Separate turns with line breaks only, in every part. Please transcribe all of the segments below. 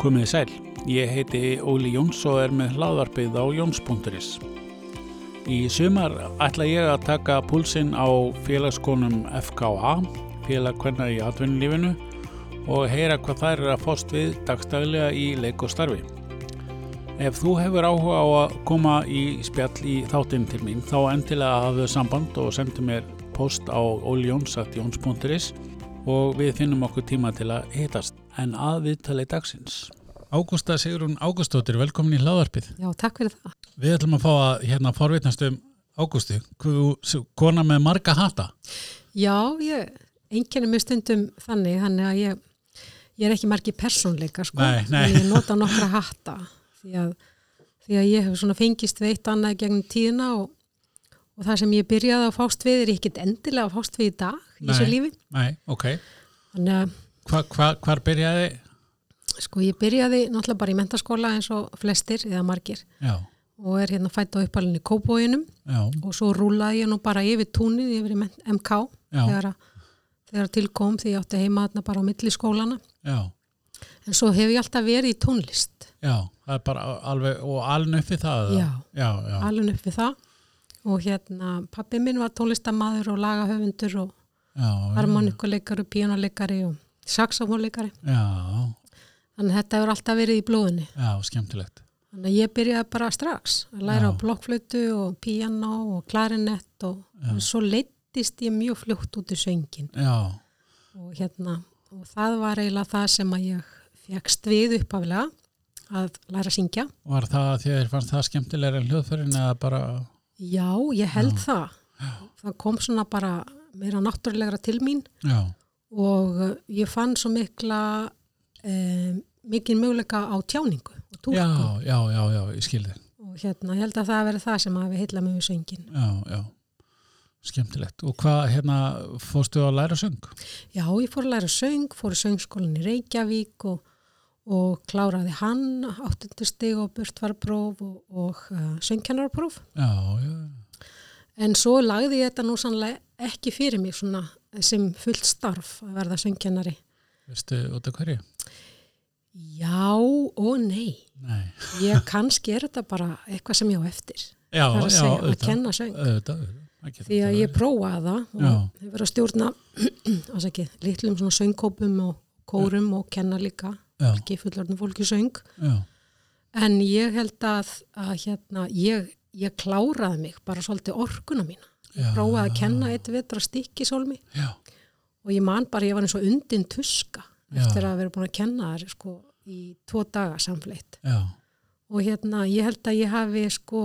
Komiði sæl, ég heiti Óli Jóns og er með hláðarbyggð á jóns.is. Í sumar ætla ég að taka púlsinn á félagskonum FKH, félag hvernig í atvinnulífinu og heyra hvað þær eru að fóst við dagstaglega í leik og starfi. Ef þú hefur áhuga á að koma í spjall í þáttinn til mín þá endilega hafðu samband og sendu mér post á oljóns.jóns.is og við finnum okkur tíma til að hitast en að viðtali dagsins. Ágústa Sigrun Ágústóttir, velkomin í hláðarpið.
Já, takk fyrir það.
Við ætlum að fá að hérna forvitnast um Ágústu, Þú- sú- kona með marga hata.
Já, ég einkennir mig stundum þannig, þannig að ég, ég er ekki margi persónleika, sko.
Nei, nei.
En Ég nota nokkra hatta, því að, því að ég hef svona fengist veitt annað gegnum tíðina og, og það sem ég byrjaði að fást við er ég ekkert endilega að fást við í dag í þessu
Nei.
lífi.
Nei, ok.
Þannig að,
Hva, hva, hvar byrjaði?
sko, ég byrjaði náttúrulega bara í mentaskóla eins og flestir eða margir
Já,
og er hérna fætt á uppalinn í Kóbóinum
já,
og svo rúlaði ég nú bara yfir túnið yfir í men- MK
Já.
þegar, að- þegar til kom því ég átti heima þarna bara á milli skólana
já,
en svo hef ég alltaf verið í tónlist
já. Það er bara alveg, og aln uppi það? eða?
Já.
Já, já,
alveg upp við það og hérna pappi minn var tónlistamaður og lagahöfundur og
já,
harmonikuleikari, píjónuleikari og saxofónleikari
já,
þannig að þetta hefur alltaf verið í blóðinni
já, skemmtilegt.
þannig að ég byrjaði bara strax að læra
Já.
á blokkflötu og píjano og klarinett og en svo leittist ég mjög fljótt út í söngin
Já,
og hérna og það var eiginlega það sem að ég fegst við uppaflega að læra að syngja.
var það því að þér fannst það skemmtilega en hljóðferðin eða bara,
Já, ég held það. Það kom svona bara meira náttúrulegra til mín
já,
og eh, ég fann svo mikla eh, mikinn möguleika á tjáningu og
já,
túlku
já, já, já, ég skildi.
og hérna, ég held að það veri það sem að við heilla með við söngin.
Já, já, skemmtilegt. Og hvað, hérna, fórstu að læra söng?
Já, ég fór að læra söng, fór í söngskólan í Reykjavík og, og kláraði hann áttundustig og burtvarpróf og, og uh, söngkennarpróf
Já, já,
En svo lagði ég þetta nú sannlega ekki fyrir mig svona sem fullt starf að verða söngkennari.
veistu, út af hverju?
Já og nei.
Nei.
Ég kannski er þetta bara eitthvað sem ég á eftir.
Já,
Það er að
já,
segja, að
auðvitað.
kenna söng.
Auðvitað, auðvitað. Það getur
Því að
verið.
ég prófaði það
Já.
og hefur verið að stjórna ásaki, litlum svona söngkópum og kórum og kenna líka
Já.
fólki, fullorðnum fólki söng.
Já,
En ég held að, að hérna, ég, ég kláraði mig bara svolítið orkuna mína. Ég
Já.
prófaði að kenna eitt vetra stikki sólmi.
já,
og ég man bara, ég var eins og undin tuska
Já.
eftir að vera búin að kenna þær sko, í tvo daga samfleitt
já,
og hérna, ég held að ég hafi sko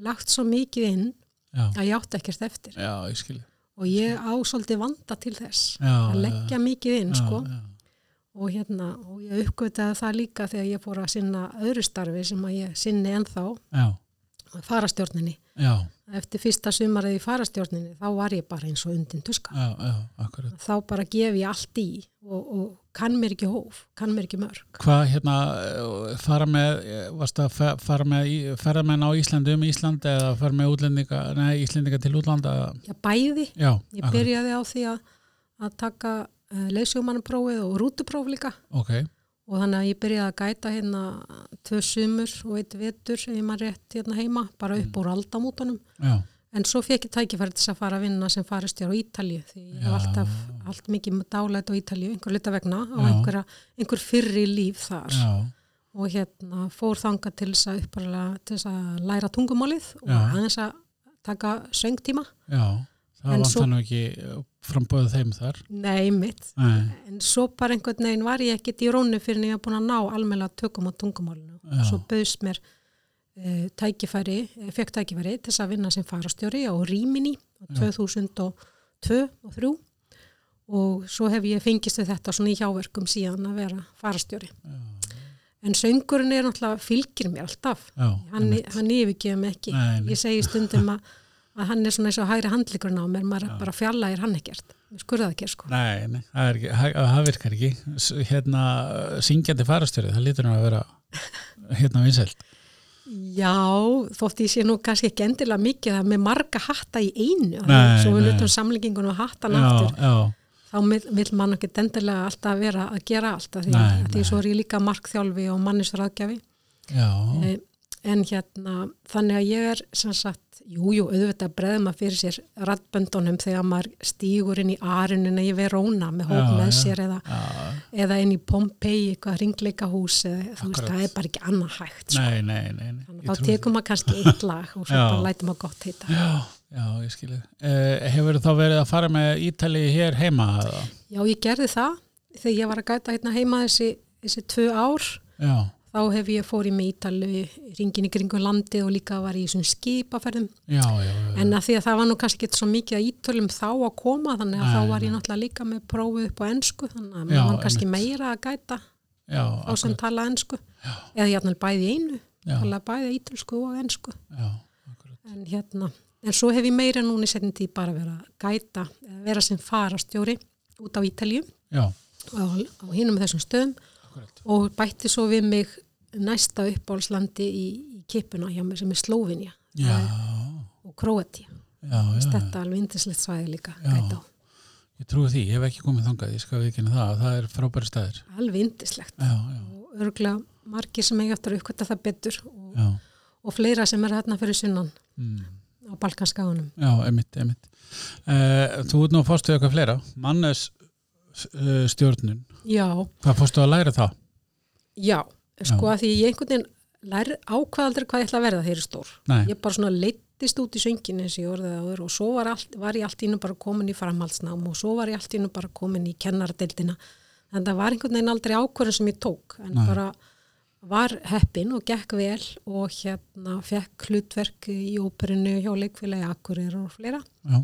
lagt svo mikið inn
já,
að ég átti ekkert eftir
já, ég skilji.
og ég á svolítið vanda til þess
Já,
að leggja mikið inn
já,
sko
já,
og hérna, og ég uppgötaði það líka þegar ég fór að sinna öðru starfi sem að ég sinni ennþá
já,
farastjórninni
já,
eftir fyrsta sumarið í farastjórninni þá var ég bara eins og undin tuska
já, já, akkurat.
þá bara gef ég allt í og, og kann mér ekki hóf, kann mér ekki mörg
Hvað hérna, eh, fara með, eh, varstu að fe- fara með, í- ferðamenn á Íslandi um Ísland eða fara með útlendinga, nei, Íslendinga til útlanda?
Já, bæði.
Já,
Ég byrjaði á því að, að taka uh, leysjumannaprófið og rútupróf líka
Ok,
og þannig að ég byrjaði að gæta hérna tvö sumur og eitt vetur sem ég maður rétt hérna heima, bara
Mm.
upp úr aldamótanum.
já,
En svo fekk ég tækifæri til þess að fara að vinna sem faristjár á Ítalju því ég hef
Já.
alltaf, allt mikið dálæt á Ítalju, einhver luta vegna og
Já.
einhverja, einhver fyrri líf þar
já,
og hérna fór þanga til þess að upparlega til þess að læra tungumálið og
Já.
aðeins að taka söngtíma.
já, það
En
vant
svo-
svo... hann ekki frambóðu þeim þar.
Nei, mitt.
Nei,
En svo bara einhvern veginn var ég ekkert í rónu fyrir en ég var búin að ná almennlega tökum á tungumálinu.
Já.
Svo bauðst mér uh, tækifæri, eh, fekk tækifæri til þess að vinna sem farastjóri á Rímini á 2002 og 3 og svo hef ég fengist við þetta svona í hjáverkum síðan að vera farastjóri. En söngurinn er náttúrulega fylgir mér alltaf.
já,
Hann, hann yfirgefur mig ekki.
Nei, nei.
Ég segi stundum að, að hann er svona eins og hægri handlikurinn á mér, maður bara fjallægir hann ekkert. Skurðað ekki, sko.
nei, nei, það, er ekki, það- það virkar ekki. S hérna, syngjandi farastjörið, það lítur hann að vera hérna vinsælt.
Já, þótt ég sé nú kannski ekki endilega mikið það með marga hatta í einu,
Nei,
svo við
nei.
nutum samlingingun og hattan
Já,
aftur,
já,
þá mil- vill mann ekki dendilega alltaf vera að gera allt að því,
Nei,
að því
nei.
svo er ég líka markþjálfi og mannisfræðgjafi
já,
Eh, en hérna þannig að ég er sem sagt jújú, jú, auðvitað breðum maður fyrir sér rattböndunum þegar maður stígur inn í arununa í Verona með hóp
Já,
með
já.
sér eða,
já.
eða inn í Pompeii eitthvað ringleikahús eða þú veist,
Akkurat.
það er bara ekki annað hægt sko.
Nei, nei, nei, nei.
Þannig
ég
að
trúi
þá tekum maður kannski eitt lag og svo
Já.
bara lætum maður gott heita.
því. Já, já, ég skilji. Uh, hefur þá verið að fara með Ítali hér heima? eða?
Já, ég gerði það þegar ég var að gæta hérna heima þessi, þessi tvö ár.
Já,
Þá hef ég fórið með Ítalu ringin í kringum landið og líka var í svona skipaferðum.
já, já. já.
En að því að það var nú kannski ekki svo mikið að Ítölum um þá að koma þannig að
Nei,
þá var ég
nei.
náttúrulega líka með prófið upp á ensku þannig að
Já,
maður var kannski
einmitt.
meira að gæta
já,
á sem
akkurat,
tala ensku. Eða jafnvel bæði í einu,
já,
tala bæði ítölsku og ensku.
já, akkurat.
En hérna, en svo hef ég meira núna í setjum tíð bara verið að gæta, eða vera sem farastjóri út á Ítalju
Já,
á, á hinum þessum stöðum
akkurat.
og bætti svo við mig næsta uppáhalslandi í, í kipuna hjá mér sem er Slóvinja
Já,
og Króatía.
já, já.
Þetta er alveg indislegt svæði líka
Já.
gæta á.
Ég trúi því, ég hef ekki komið þangað, ég skal viðkynna það, það er frábæri staðir.
Alveg indislegt
Já, já,
og örgla margir sem eiga eftir að uppkvæta það betur og,
já,
og fleira sem er hérna fyrir sunnan
mm.
á Balkanskáunum.
já, emitt, emitt. Uh, þú ert nú að fórstu eitthvað fleira, mannes uh, stjórnun,
Já,
hvað fórstu að læra það?
já, sko að því ég einhvern veginn lær ákvaðaldri hvað ég ætla að verða þegar ég er stór.
Nei,
ég bara svona leittist út í söngin eins og ég orðið áður og svo var, allt, var ég allt í nú bara komin í framhaldsnám og svo var ég allt í nú bara komin í kennardeildina en það var einhvern veginn aldrei ákvörðin sem ég tók en
Nei.
bara var heppin og gekk vel og hérna fekk hlutverk í óperinu hjá leikfélagi Akurir og fleira
já,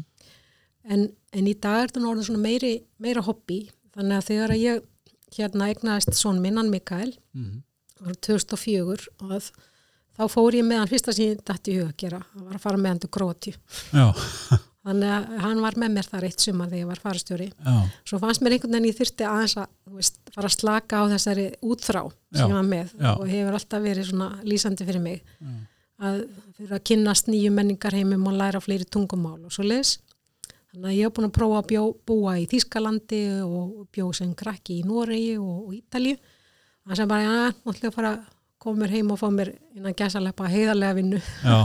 en, en í dag er þetta nú orðið svona meiri, meira hobby þannig að þegar að ég hérna egnaðist son minn, hann Mikael
mm.
árið 2004 að þá fór ég með hann fyrsta sem ég dætti í huga að gera, hann var að fara með hann til Króatíu.
já,
Þannig að hann var með mér þar eitt sumar þegar ég var farastjóri.
já,
Svo fannst mér einhvern veginn ég þyrfti aðeins að þú veist, fara að slaka á þessari útþrá sem
Já,
ég var með
já. Mm.
og hefur alltaf verið svona lýsandi fyrir mig
já.
að fyrir að kynnast nýju menningarheimum og læra fleiri tungumál og svo leis. Þannig að ég hef búin að prófa að bjó, búa í Þýskalandi og bjó sem krakki í Noregi og, og Ítalíu. Þannig sem bara, já, nú ætlum ég að fara að koma mér heim og fá mér innan gæsaleppa heiðarlega vinnu
já,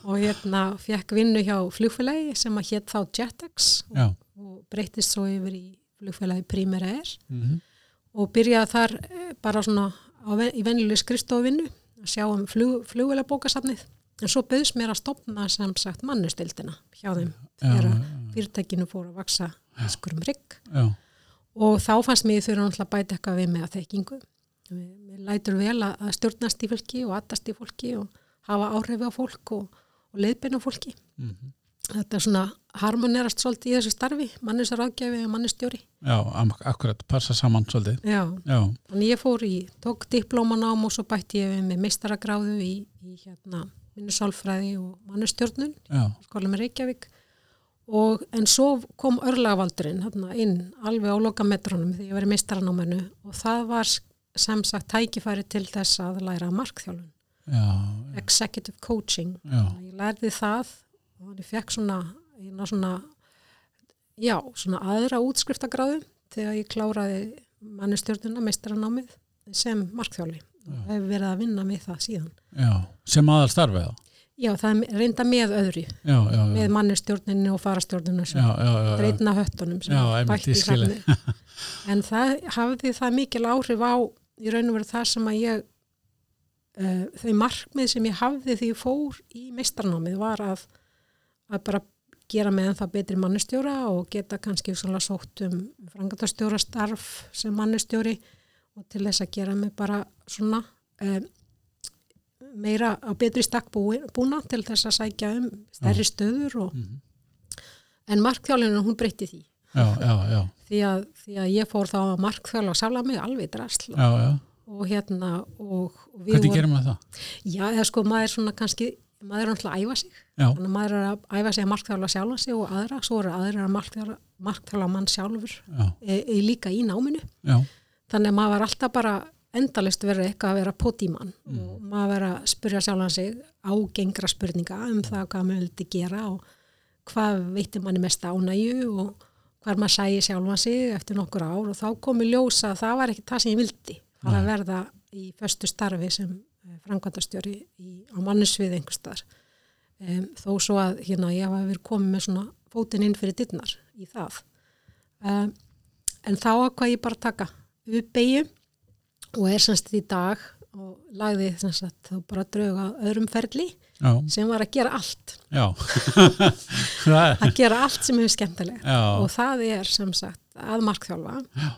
og hérna fekk vinnu hjá flugfélagi sem að hétt þá Jetex og,
já,
og breytist svo yfir í flugfélagi Primera Air
mhm,
og byrjaði þar eh, bara svona á, ven- í venjuleg skrifstofinu að sjá um flug, flugvélag bókasafnið en svo bauðst mér að stopna sem sagt mannustildina hjá þeim
já,
þegar
já,
að fyrirtækinu fór að vaksa skurum rigg
já,
og þá fannst mér þurfa náttúrulega að bæta eitthvað við með að þekkingu mér mér lætur vel að, að stjórnast í fólki og atast í fólki og hafa áhrifi á fólk og, og leiðbeina fólki
mhm.
þetta er svona harmonerast svolítið í þessu starfi mannusar ágjafi og mannustjóri
já, am- akkurat, passa saman svolítið,
Já,
já,
Þannig ég fór í, tók diplómanám og svo bætti ég við með meistaragráðu í, í hérna, minni sálfræði og mannustjórnun,
já,
skóla með Reykjavík. Og, en svo kom örlagavaldurinn hérna, inn alveg á lokametrónum þegar ég var í meistaranáminu og það var s- sem sagt tækifæri til þess að læra markþjálfun,
já,
executive coaching.
já,
Þannig að Ég lærði það og ég fekk svona, ég ná svona, já, svona aðra útskriftagráðu þegar ég kláraði mannustjórnuna, meistaranámið sem markþjóli og hef verið að vinna með það síðan.
já, sem aðal starfið það,
Já, það er reynda með öðru,
já, já, já,
með mannustjórninu og farastjórninu sem
já, já, já, já,
dreitna höttunum sem
Já, einmitt,
bætti
ég
í
skil.
safni. En það hafði það mikil áhrif á í raun og verið það sem að ég uh, þau markmið sem ég hafði því ég fór í meistarnámið var að, að bara gera með það betri mannustjóra og geta kannski svona sótt um frangatastjóra starf sem mannustjóri og til þess að gera mig bara svona um, meira á betri stakk búi- búna til þess að sækja um stærri stöður og,
Mhm.
en markþjálinu hún breytti því
já, já, já,
því að, því að ég fór þá að markþjóla og sála mig alveg drasl
já, já,
og hérna og og við
hvernig gerum við það?
já eða sko maður svona kannski maður er náttúrulega að æfa sig
Já,
þannig að maður er að æfa sig að markþjóla sjálfa sig og aðra, svo eru aðra að markþjóla, markþjóla mann sjálfur
já,
e, e, líka í náminu
já,
þannig að maður var alltaf bara endalist verið eitthvað að vera potímann og maður verið að spyrja sjálfan sig ágengra spurninga um það hvað maður vildi gera og hvað veitir manni mest ánægju og var maður að sæja sjálfan sig eftir nokkur ár og þá komi ljósa að það var ekki það sem ég vildi fara að verða í föstu starfi sem frangvandastjóri á manninsvið einhver staðar um, þó svo að hérna ég hafa verið komið með svona fótinn inn fyrir dittnar í það um, en þá hvað ég bara að taka uppeyju og er semst í dag og lagði semst að þá bara drauga öðrum ferli
já,
sem var að gera allt
já. það er,
að gera allt sem hefur skemmtilegt
já,
og það er sem sagt að markþjálfa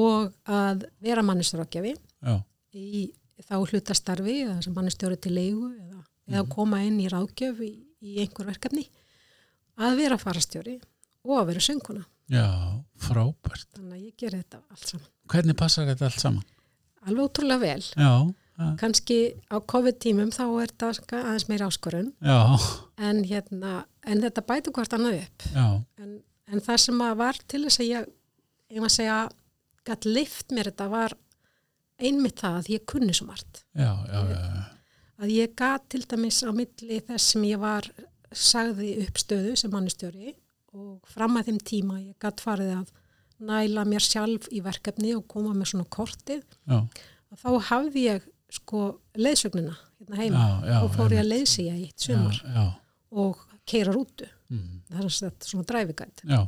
og að vera mannustrákjafi
já,
í þá hlutastarfi eða sem mannustjóri til leigu eða, eða koma inn í ráðgjöf í, í einhver verkefni að vera farastjóri og að vera sönguna
já, frábært.
þannig að ég geri þetta allt saman
Hvernig passar þetta allt saman?
alveg ótrúlega vel
Já, já,
kannski á COVID-tímum þá er þetta ska- aðeins meira áskorun
já,
en, hérna, en þetta bæti hvort annað upp
já,
en, en það sem að var til þess að ég ég maður segja gætt lift mér þetta var einmitt það að ég kunni svo margt
já, já, já,
að ég gat til dæmis á milli þess sem ég var sagði uppstöðu sem mannustjóri og fram að þeim tíma ég gat farið að næla mér sjálf í verkefni og koma með svona kortið
já,
að þá hafði ég sko leiðsögnina hérna heima
já, já.
og fór ég að leiðsýja í eitt sumar
Já, já,
og keira rútu
mm,
það er sem sagt svona dræfigætt
já,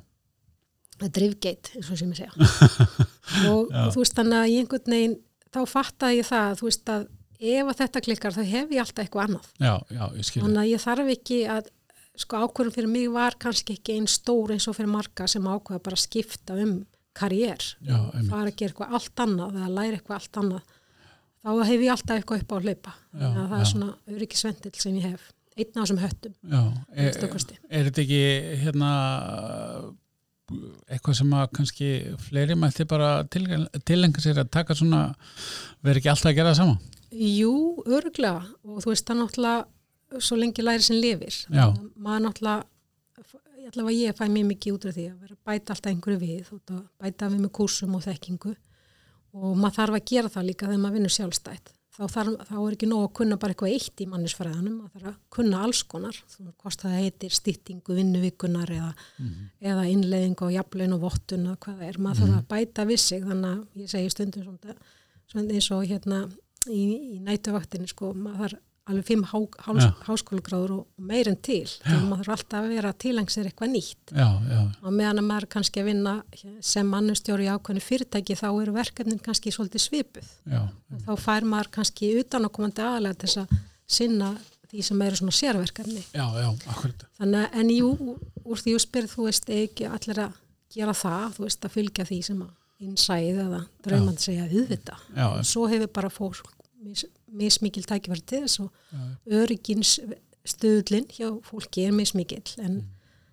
drifgeit eins og sem ég segja og, og þú veist þannig að í einhvern veginn þá fattaði ég það þú veist að ef að þetta klikkar þá hef ég alltaf eitthvað annað
já, já, ég skilja.
Þannig að ég þarf ekki að, sko ákvörðum fyrir mig var kannski ekki einn stór eins og fyrir marga sem ákveða bara að skipta um karriér,
Já, einmitt.
fara að gera eitthvað allt annað eða læra eitthvað allt annað. Þá hef ég alltaf eitthvað upp á að hlaupa. Þannig að það er svona öryggisvendil sem ég hef, einn af þessum höttum,
Já, er,
stökkusti.
er þetta ekki hérna eitthvað sem að kannski fleiri mætti bara tilenga sér að taka svona, verið ekki alltaf að gera það sama?
Jú, öruglega og þú veist það náttúrulega svo lengi læri sem lifir.
Já.
Maður náttúrulega, allavega ég fæ mjög mikið út af því að vera að bæta alltaf einhverju við og það bæta við með kúrsum og þekkingu og maður þarf að gera það líka þegar maður vinnur sjálfstætt. Þá, þarf, þá er ekki nóg að kunna bara eitthvað eitt í mannisfræðanum, maður þarf að kunna alls konar, þú veist hvort það heitir stýttingu vinnuvikunar eða, eða innleiðing og jafnlein og vottun og hvað það er, maður þarf að bæta við sig, þannig að ég segi stundum svona, svona eins og hérna í, í nætuvaktinni sko, maður þarf alveg fimm há, háls,
Já.
háskólugráður og, og meir en til, þannig að maður þarf alltaf að vera að tilheng sér eitthvað nýtt
Já, já,
og meðan að maður er kannski að vinna sem mannustjóri í ákveðinu fyrirtæki þá eru verkefnin kannski svolítið svipuð
já,
og þá fær maður kannski utan að komandi aðalega til þess að sinna því sem eru svona sérverkefni
já, já, akkurat.
þannig að en jú, úr því ég spyrð þú veist ekki allir að gera það þú veist að fylgja því sem að innsæð eða draumandi segja auðvita
Já,
En svo hefur bara fólk mis, mismikil tækifæri til þess og
Já.
öryggins stöðlinn hjá fólki er mismikill en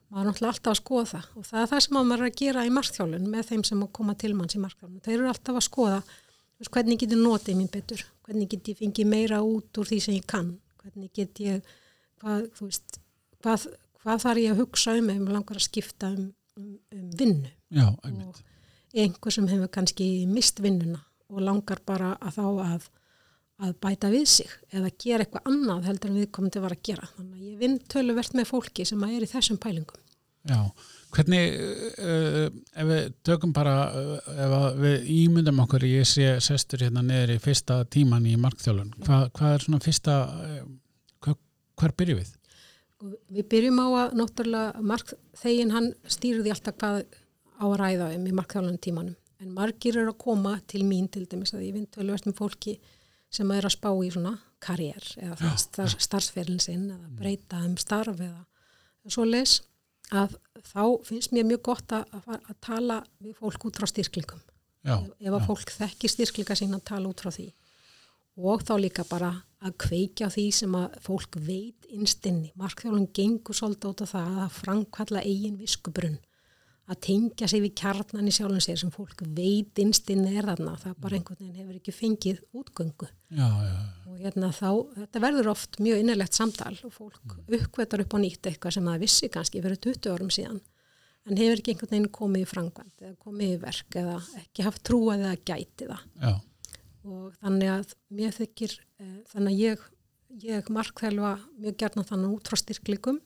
maður er náttúrulega alltaf að skoða það og það er það sem að maður er að gera í markþjálun með þeim sem að koma til manns í markþjálun þeir eru alltaf að skoða þú veist, hvernig getur notið mín betur hvernig get ég fengið meira út úr því sem ég kann hvernig get ég hvað, þú veist, hvað, hvað þarf ég að hugsa um ef maður langar að skipta um, um, um vinnu
já, einmitt.
einhver sem hefur kannski mist vinnuna og langar bara að þá að, að bæta við sig eða gera eitthvað annað heldur en viðkomandi var að gera. Þannig að ég vinn töluvert með fólki sem að er í þessum pælingum.
Já, hvernig uh, ef við tökum bara uh, ef að við ímyndum okkur ég sé sestur hérna neður í fyrsta tíman í markþjálun, Hva, hvað er svona fyrsta uh, hva, hvar byrjum við?
Og Sko, Við byrjum á að náttúrulega mark, þegin hann stýrði alltaf hvað á að ræða um í markþjálunum tímanum. En margir eru að koma til mín til dæmis að ég vinn töluvert með fólki sem er að spá í svona karriér eða það star, starfsferlin sinn eða breyta um starf eða svo leis að þá finnst mér mjög gott að, að, fara- að tala við fólk út frá styrklingum
Já,
ef að fólk þekki styrkleika sína að tala út frá því og þá líka bara að kveikja á því sem að fólk veit innstinni. Markþjálun gengur svolítið út af það að framkalla eigin viskubrunn, að tengja sig við kjarnan í sjálfum sér sem fólk veit innstinni er þarna, það bara
Mm.
einhvern veginn hefur ekki fengið útgöngu
já, já,
og hérna þá, þetta verður oft mjög innilegt samtal og fólk uppvetar upp á nýtt eitthvað sem það vissi kannski fyrir 20 árum síðan en hefur ekki einhvern veginn komið í frangvænd eða komið í verk eða ekki haft trúað eða gætið það
já,
og þannig að mér þykir eh, þannig að ég, ég markþelva mjög gerna þannig út frá styrkleikum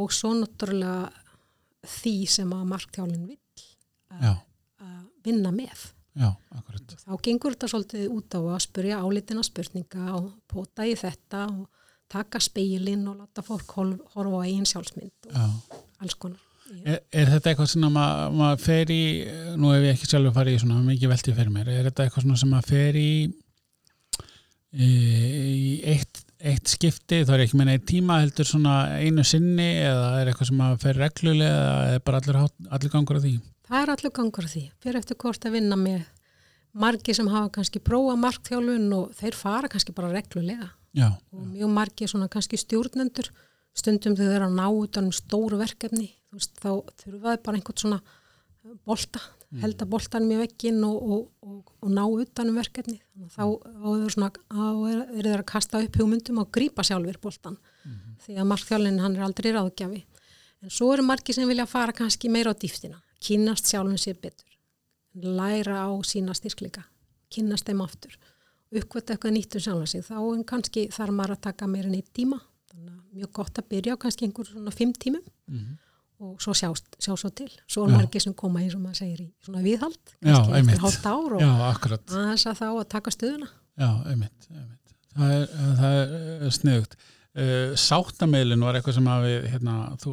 og svo náttúrulega því sem að marktjálinn vill
já,
að vinna með.
já, akkurat.
Þá gengur þetta svolítið út á að spurja álitina spurninga og pota í þetta og taka speilin og láta fólk hol- horfa á eigin sjálfsmynd og
Já.
alls konar.
Er, er þetta eitthvað sem að ma- maður fer í, nú hef ég ekki sjálfur farið í svona, það er mikið veltið fyrir mér, er þetta eitthvað svona sem maður fer í, e, í eitt, eitt skipti, þá er ég ekki meina eitt tíma heldur svona einu sinni eða er eitthvað sem maður fer reglulega eða er bara allir, hátt- allir gangur á því?
Það er allur gangur að því. Fyrir eftir hvort að vinna með margi sem hafa kannski prófa marktjálun og þeir fara kannski bara reglulega.
Já,
og mjög margir svona kannski stjórnendur stundum þau eru að ná utan um stóru verkefni, þú veist, þá þurfaði bara einhvern svona bolta, helda boltanum í veggin og, og, og, og ná utan um verkefni þannig að þá þá eru svona, þá eru eru þeir að kasta upp hugmyndum og grípa sjálfur boltan því að markþjálfinn hann er aldrei ráðgjafi en svo eru margir sem vilja fara kannski meira á dýftina, kynast sjálfum sér betur læra á sína styrkleika, kynnast þeim aftur uppkvæmt eitthvað nýtt um sjálfan sig þá en kannski þarf maður að taka meira en eitt tíma þannig að mjög gott að byrja á kannski einhver svona fimm tímum
Mhm.
og svo sjá, sjá svo til svo
Já.
er margir sem koma eins og maður segir í svona viðhald
Já,
kannski
einmitt.
eftir hálft ár og
já akkurat.
aðeins að þá að taka stöðuna
Já, einmitt, einmitt. Það er, það er eh, sniðugt. Uh, sáttameilin var eitthvað sem að við, hérna, þú,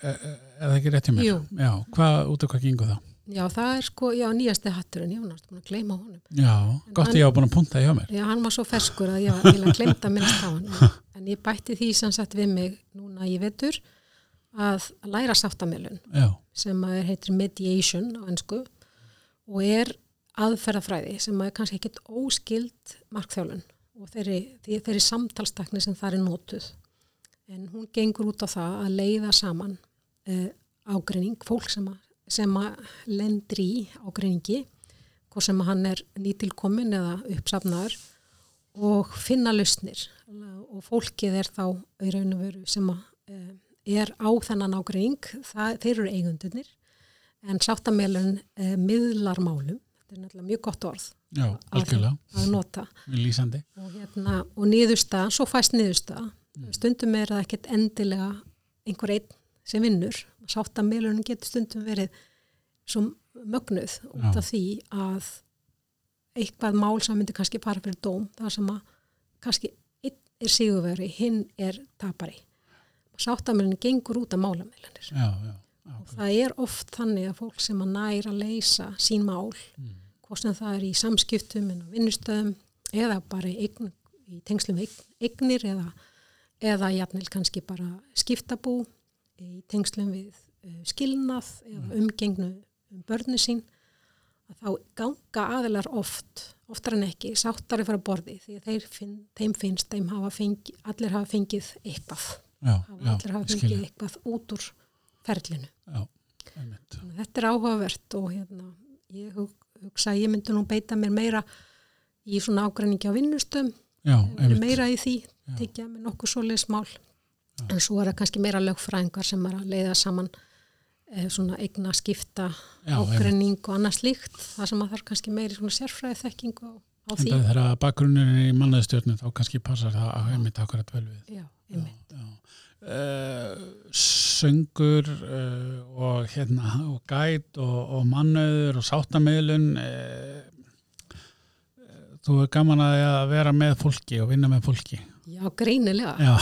er, er það ekki rétt hjá mér?
Jú.
Já, hvað, út af hvað gengur það?
já það er sko, já nýjasti hatturinn ég var náttúrulega búin að gleyma honum
Já, gott
hann-
ég hafa búin að punta hjá mér.
Já, hann var svo ferskur að ég var eiginlega glemt að minnast á hann. En ég bætti því sem sagt við mig núna í vetur að læra sáttamelun
Já,
sem að er heitir mediation á ennsku og er aðferðafræði sem að er kannski ekkit óskild markþjálun og þeirri, því- þeirri samtalstakni sem þar er notuð. En hún gengur út á það að leiða saman uh, ágreining, fólk sem að, sem að lendir í ágreiningi, hvort sem að hann er nýtilkomin eða uppsafnaður og finna lausnir og fólkið er þá í raun og veru sem að, eh, er á þennan ágreining, það, þeir eru eigundunir en sáttamélun eh, miðlar málum, þetta er náttúrulega mjög gott orð
já, algjörlega,
að nota
við lýsandi.
og, hérna, og niðursta, svo fæst niðursta stundum er það ekkert endilega einhver einn sem vinnur sáttamélunin getur stundum verið svo mögnuð út
Já.
af því að eitthvað mál sem myndi kannski fara fyrir dóm þar sem að kannski einn er sigurveri, hinn er tapari sáttamélunin gengur út af málamélunin
Já, já,
og það er oft þannig að fólk sem að næra að leysa sín mál
Mm.
hvort sem það er í samskiptum en á vinnustöðum eða bara í, eign, í tengslum við eign, eignir eða, eða jafnvel kannski bara skiptabú í tengslum við uh, skilnað
Mm.
eða umgengnu um börni sín að þá ganga aðilar oft oftar en ekki, sáttari frá borði því að þeir finn, þeim finnst þeim hafa fengi, allir hafa fengið eitthvað
já,
hafa
já,
allir hafa
ég
fengið
skilja,
eitthvað út úr ferlinu
já, einmitt.
Þannig að þetta er áhugavert og hérna, ég hug- hugsa að ég myndi nú beita mér meira í svona ágræningi á vinnustöðum,
Já,
verið
einmitt,
meira í því, tekja með nokkuð svoleiðis mál. En svo er það kannski meira lögfræðingar sem er að leiða saman eh, svona eigna skipta
já, einmitt.
ágræning og annað slíkt, það sem að það er kannski meiri svona sérfræði þekking á, á
En
því.
það þegar bakgrunnurinn er í mannaðstjörnu þá kannski passar það að einmitt akkurat vel við.
Já, einmitt.
uh, söngur uh, og hérna og gæt og, og mannöður og sáttameðlun uh, eh, þú er gaman að, því að vera með fólki og vinna með fólki
Já, greinilega.
já,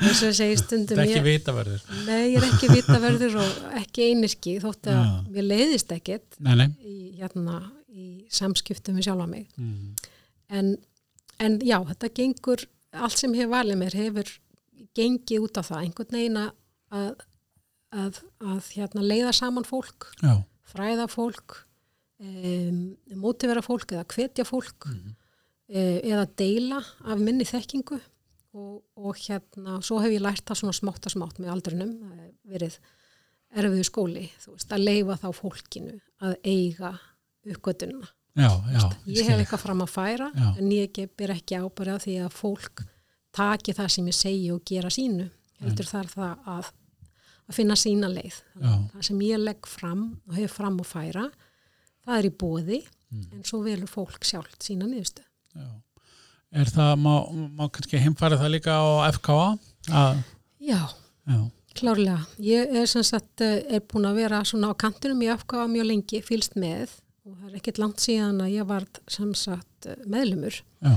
Þess að segja stundum
þetta er ekki vitaverður
nei, ég er ekki vitaverður og ekki einirki, þótt að
Já.
mér leiðist ekkert.
nei, nei
í, hérna, í samskiptum við sjálfa mig.
mm.
En, en já, þetta gengur, allt sem hefur valið mér hefur gengið út á það, einhvern veginn að, að, að, að hérna, leiða saman fólk,
já,
fræða fólk, um, mótivera fólk eða hvetja fólk mm. eða deila af minni þekkingu og, og hérna, svo hef ég lært það svona smátt að smátt með aldrinum, það er verið erfiðu skóli, þú veist, að leifa þá fólkinu að eiga uppgötununa
já, já
ég
skil.
hef eitthvað fram að færa
Já.
en ég ge- ber ekki ábæra því að fólk taki það sem ég segi og gera sínu heldur þar það að, að finna sína leið
Já.
það sem ég legg fram og hef fram að færa það er í bóði
Mm.
en svo velur fólk sjálft sína niðurstu
já. er það, má, má kannski heimfæra það líka á FKA að,
já,
já,
Klárlega, ég er sem sagt eh, er búin að vera svona á kantinum í FK mjög lengi, fylst með og það er ekkert langt síðan að ég varð sem sagt eh, meðlumur
Já.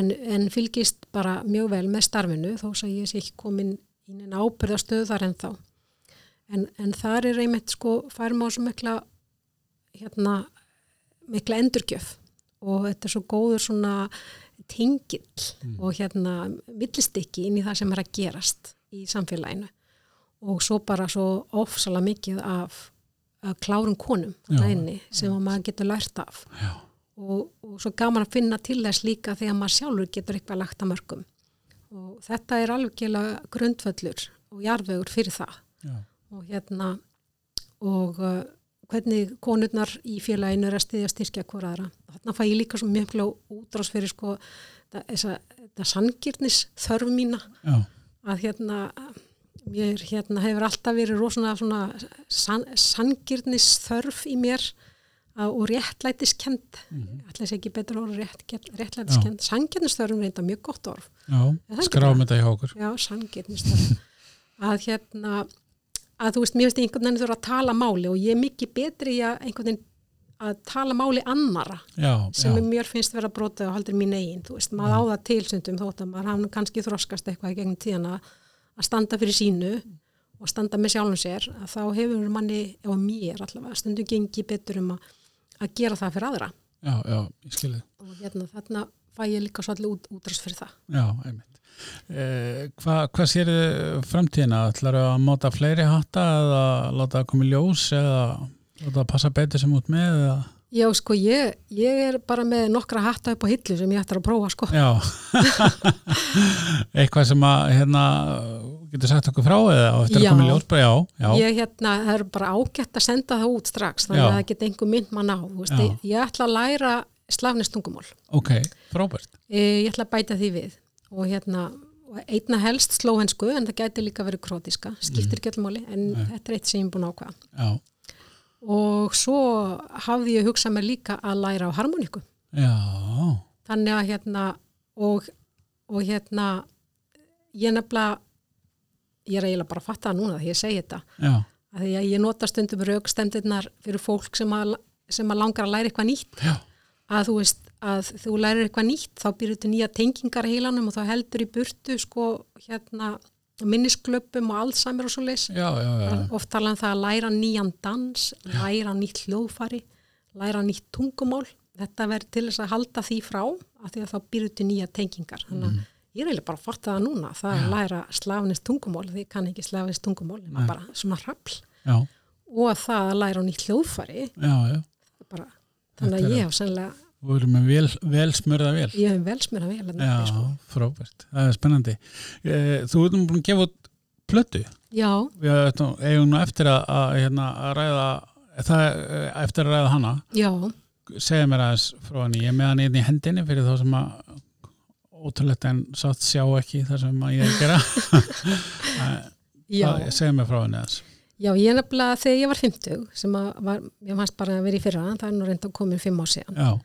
en, en fylgist bara mjög vel með starfinu þó að ég sé ekki komin í neina ábyrðastöðu þar ennþá. En, en þar er einmitt sko færum á svo mikla hérna mikla endurgjöf og þetta er svo góður svona tingill og hérna millistykki inn í það sem er að gerast í samfélaginu og svo bara svo ofsalega mikið af, af klárum konum
Já.
þarna inni sem að maður getur lært af
Já.
og, og svo gaman að finna til þess líka þegar maður sjálfur getur eitthvað lagt að mörgum og þetta er alveggelega grundvöllur og jarðvegur fyrir það
Já.
og hérna og uh, hvernig konurnar í félaginu er að styðja og styrkja hver aðra þarna fæ ég líka svo mjög mikla útrás fyrir sko það, þessa, það sangirnis þörf mína
Já.
að hérna mér hérna hefur alltaf verið rosalega svona san, sangirnis þörf í mér að, og réttlætiskend mm -hmm. allir sé ekki betur orð rétt, réttlætiskend sangirnis þörfum reynda mjög gott orð
Já.
það ekki
Skráum þetta hjá okkur.
já, sangirnis þörf að hérna að þú veist, mér finnst einhvern veginn þurfa að tala máli og ég er mikið betri í að einhvern veginn að tala máli annara
Já.
sem
já.
mér finnst vera brotið og haldir mín eigin þú veist, maður á það tilsundum þótt að maður hann kannski þroskast eitthvað í gegnum tíðana að standa fyrir sínu og standa með sjálfum sér að þá hefur manni, eða mér allavega stundum gengi betur um að, að gera það fyrir aðra
Já, já, ég skilði.
og hérna þarna fæ ég líka svolítið út, útrás fyrir það
Já, einmitt. Eh, hva, hvað sér framtíðina? Ætlar að móta fleiri hatta eða láta það koma í ljós eða láta það passa betur sem út með eða?
Já, sko, ég, ég er bara með nokkra hatta upp á hillu sem ég ætlar að prófa, sko.
Já. Eitthvað sem að hérna getur sagt okkur frá eða og eftir
Já.
að koma í ljós bara já, já,
Ég, hérna, það er bara ágætt að senda það út strax, þannig
Já.
að það geta einhver mynd mann á, þú veist,
Já.
ég, ég ætla að læra slafnistungumól.
ok, frábært.
Eh, ég ætla að bæta því við og hérna, og einna helst slóhensku en það gæti líka verið krótiska skiptir ekki öllum máli, en þetta er eitt sem ég er búin að ákvaða
Já,
og svo hafði ég hugsað mér líka að læra á harmoníku
já,
þannig að hérna og, og hérna ég nefnilega ég er eiginlega bara að fatta það núna þegar ég segi þetta
já,
að því að ég nota stundum raukstemdirnar fyrir fólk sem að, sem að langar að læra eitthvað nýtt
já,
að þú veist að þú lærir eitthvað nýtt þá býrðu til nýja tengingar í heilanum og þá heldur í burtu sko hérna minnisklöpum og allsamir og svo leys
já, já, já,
oft tala um það að læra nýjan dans læra nýtt hljóðfari læra nýtt tungumál þetta verður til þess að halda því frá að því að þá býrðu til nýja tengingar þannig að ég er eiginlega bara að fatta það núna það að læra slafinist tungumál því ég kann ekki slafinist tungumál nema bara svona rappl
já,
og það að læra nýtt hljóðfari
já, já.
bara, þannig að ég hef sennilega
Þú erum með vel, vel smörða vel.
Ég hef velsmur að vel
Já,
sko.
frábært, það er spennandi. Eh, Þú erum búin að gefa út plötu.
Já,
Við ætlum- eigum nú eftir að, að, hérna, að ræða, það, eh, eftir að ræða hana.
já,
Segðu mér aðeins frá henni, ég er með hann einn í hendinni fyrir þá sem að ótrúlegt en satt sjá ekki þar sem að ég er að gera.
já,
Hvað- Segðu mér frá henni aðeins.
já, ég nefnilega þegar ég var 50 sem að var, ég fannst bara að vera í fyrra það er nú reynda að komin fimm á síðan
Já,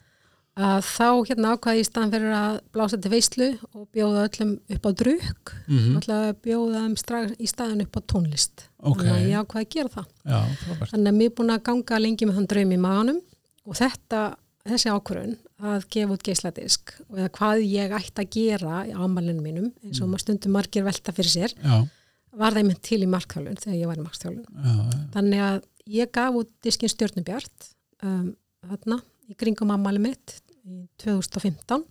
að þá hérna ákvaði ég í staðan fyrir að blása til veislu og bjóða öllum upp á drukk
mm
alltaf bjóða þeim strax í staðan upp á tónlist
Ok.
þannig að ég ákvaði að gera það
já, frábært.
þannig að mér er búin að ganga lengi með þann draum í maganum og þetta, þessi ákvörun að gefa út geisladisk og eða hvað ég ætti að gera í ámalinu mínum eins og maður stundum margir velta fyrir sér
Já,
var það einmitt til í markþjálun þegar ég var í markþjálun
já, já,
þannig að ég gaf út diskin Stjörnubjart um, þarna, í kringum ammali mitt í 2015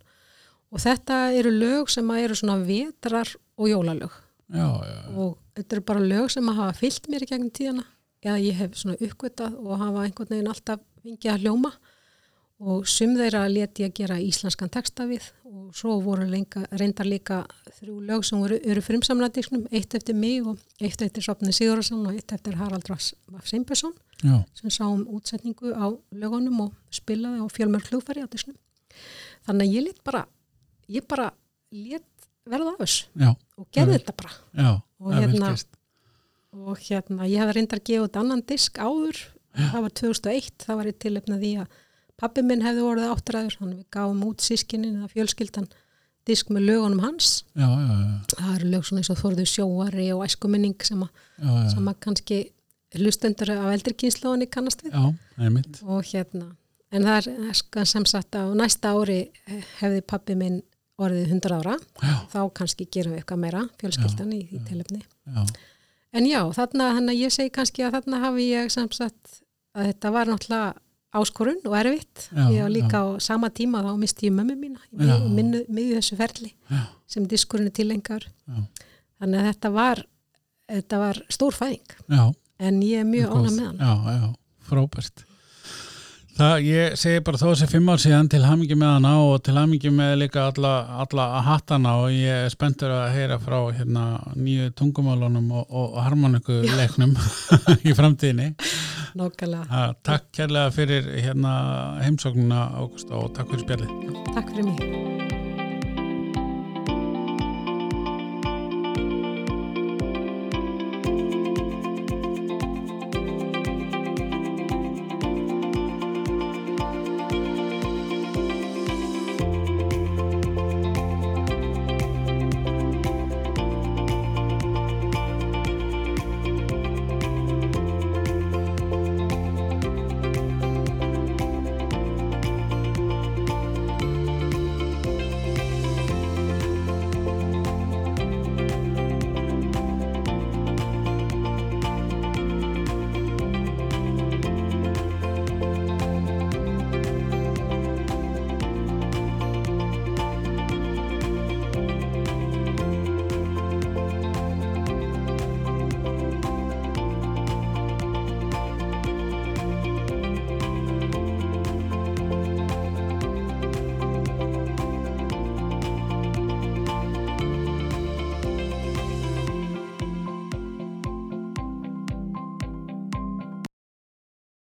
og þetta eru lög sem að eru svona vetrar og jólalög
já, já,
og þetta eru bara lög sem að hafa fyllt mér í gegnum tíðana eða ég hef svona uppgötað og hafa einhvern veginn alltaf fengið að hljóma og sum þeirra let ég gera íslenskan texta við og svo voru lenga, reyndar líka þrjú lög sem voru, eru frumsamlæðdísknum eitt eftir mig og eitt eftir Sopni Sigurðarsson og eitt eftir Harald Rass Seimbjörnsson
já,
sem sáum útsetningu á lögunum og spilaði á fjölmörg hljóðfæri á disnum þannig að ég let bara ég bara let verða af þess
já,
og gerði
Mhm.
þetta bara
já,
Og
það er vel
hérna-
gert.
og hérna, ég hefði reyndar gefið út annan disk áður, það var 2001 það var ég tilöfnað því að pappi minn hefði orðið áttræður, þannig við gáum út sískinin eða fjölskyldan disk með lögunum hans
já, já, já,
það eru lög svona eins og Þorður sjóari og æskuminning sem, að,
já, já,
sem að kannski hlustendur af eldri kynslóðinni kannast við
já, einmitt,
og hérna en það er eh, sko, sem sagt að á næsta ári eh, hefði pappi minn orðið 100 ára
já,
þá kannski gerum við eitthvað meira fjölskyldan í, í tilefni
já,
En já, þarna, þannig að ég segi kannski að þarna hafi ég samsagt að þetta var náttúrulega áskorun og erfitt.
Já,
ég var líka á sama tíma þá misti ég mömmu mína í
Já.
mið- minnu- miðju þessu ferli
já,
sem diskurinn er tilengar.
Já.
Þannig að þetta var, þetta var stór fæðing
já,
en ég er mjög
Góð.
ánað með hann.
Já, já, frábært. Það, ég segi bara þó þessi fimm ár síðan til hamingi með hana og til hamingi með líka alla, alla hattana og ég er spenntur að heyra frá hérna nýju tungumálunum og, og, og harmoniku leiknum í framtíðinni.
Nákvæmlega.
Ha, takk kærlega fyrir hérna heimsóknuna Ágústa og takk fyrir spjallið.
Takk fyrir mig.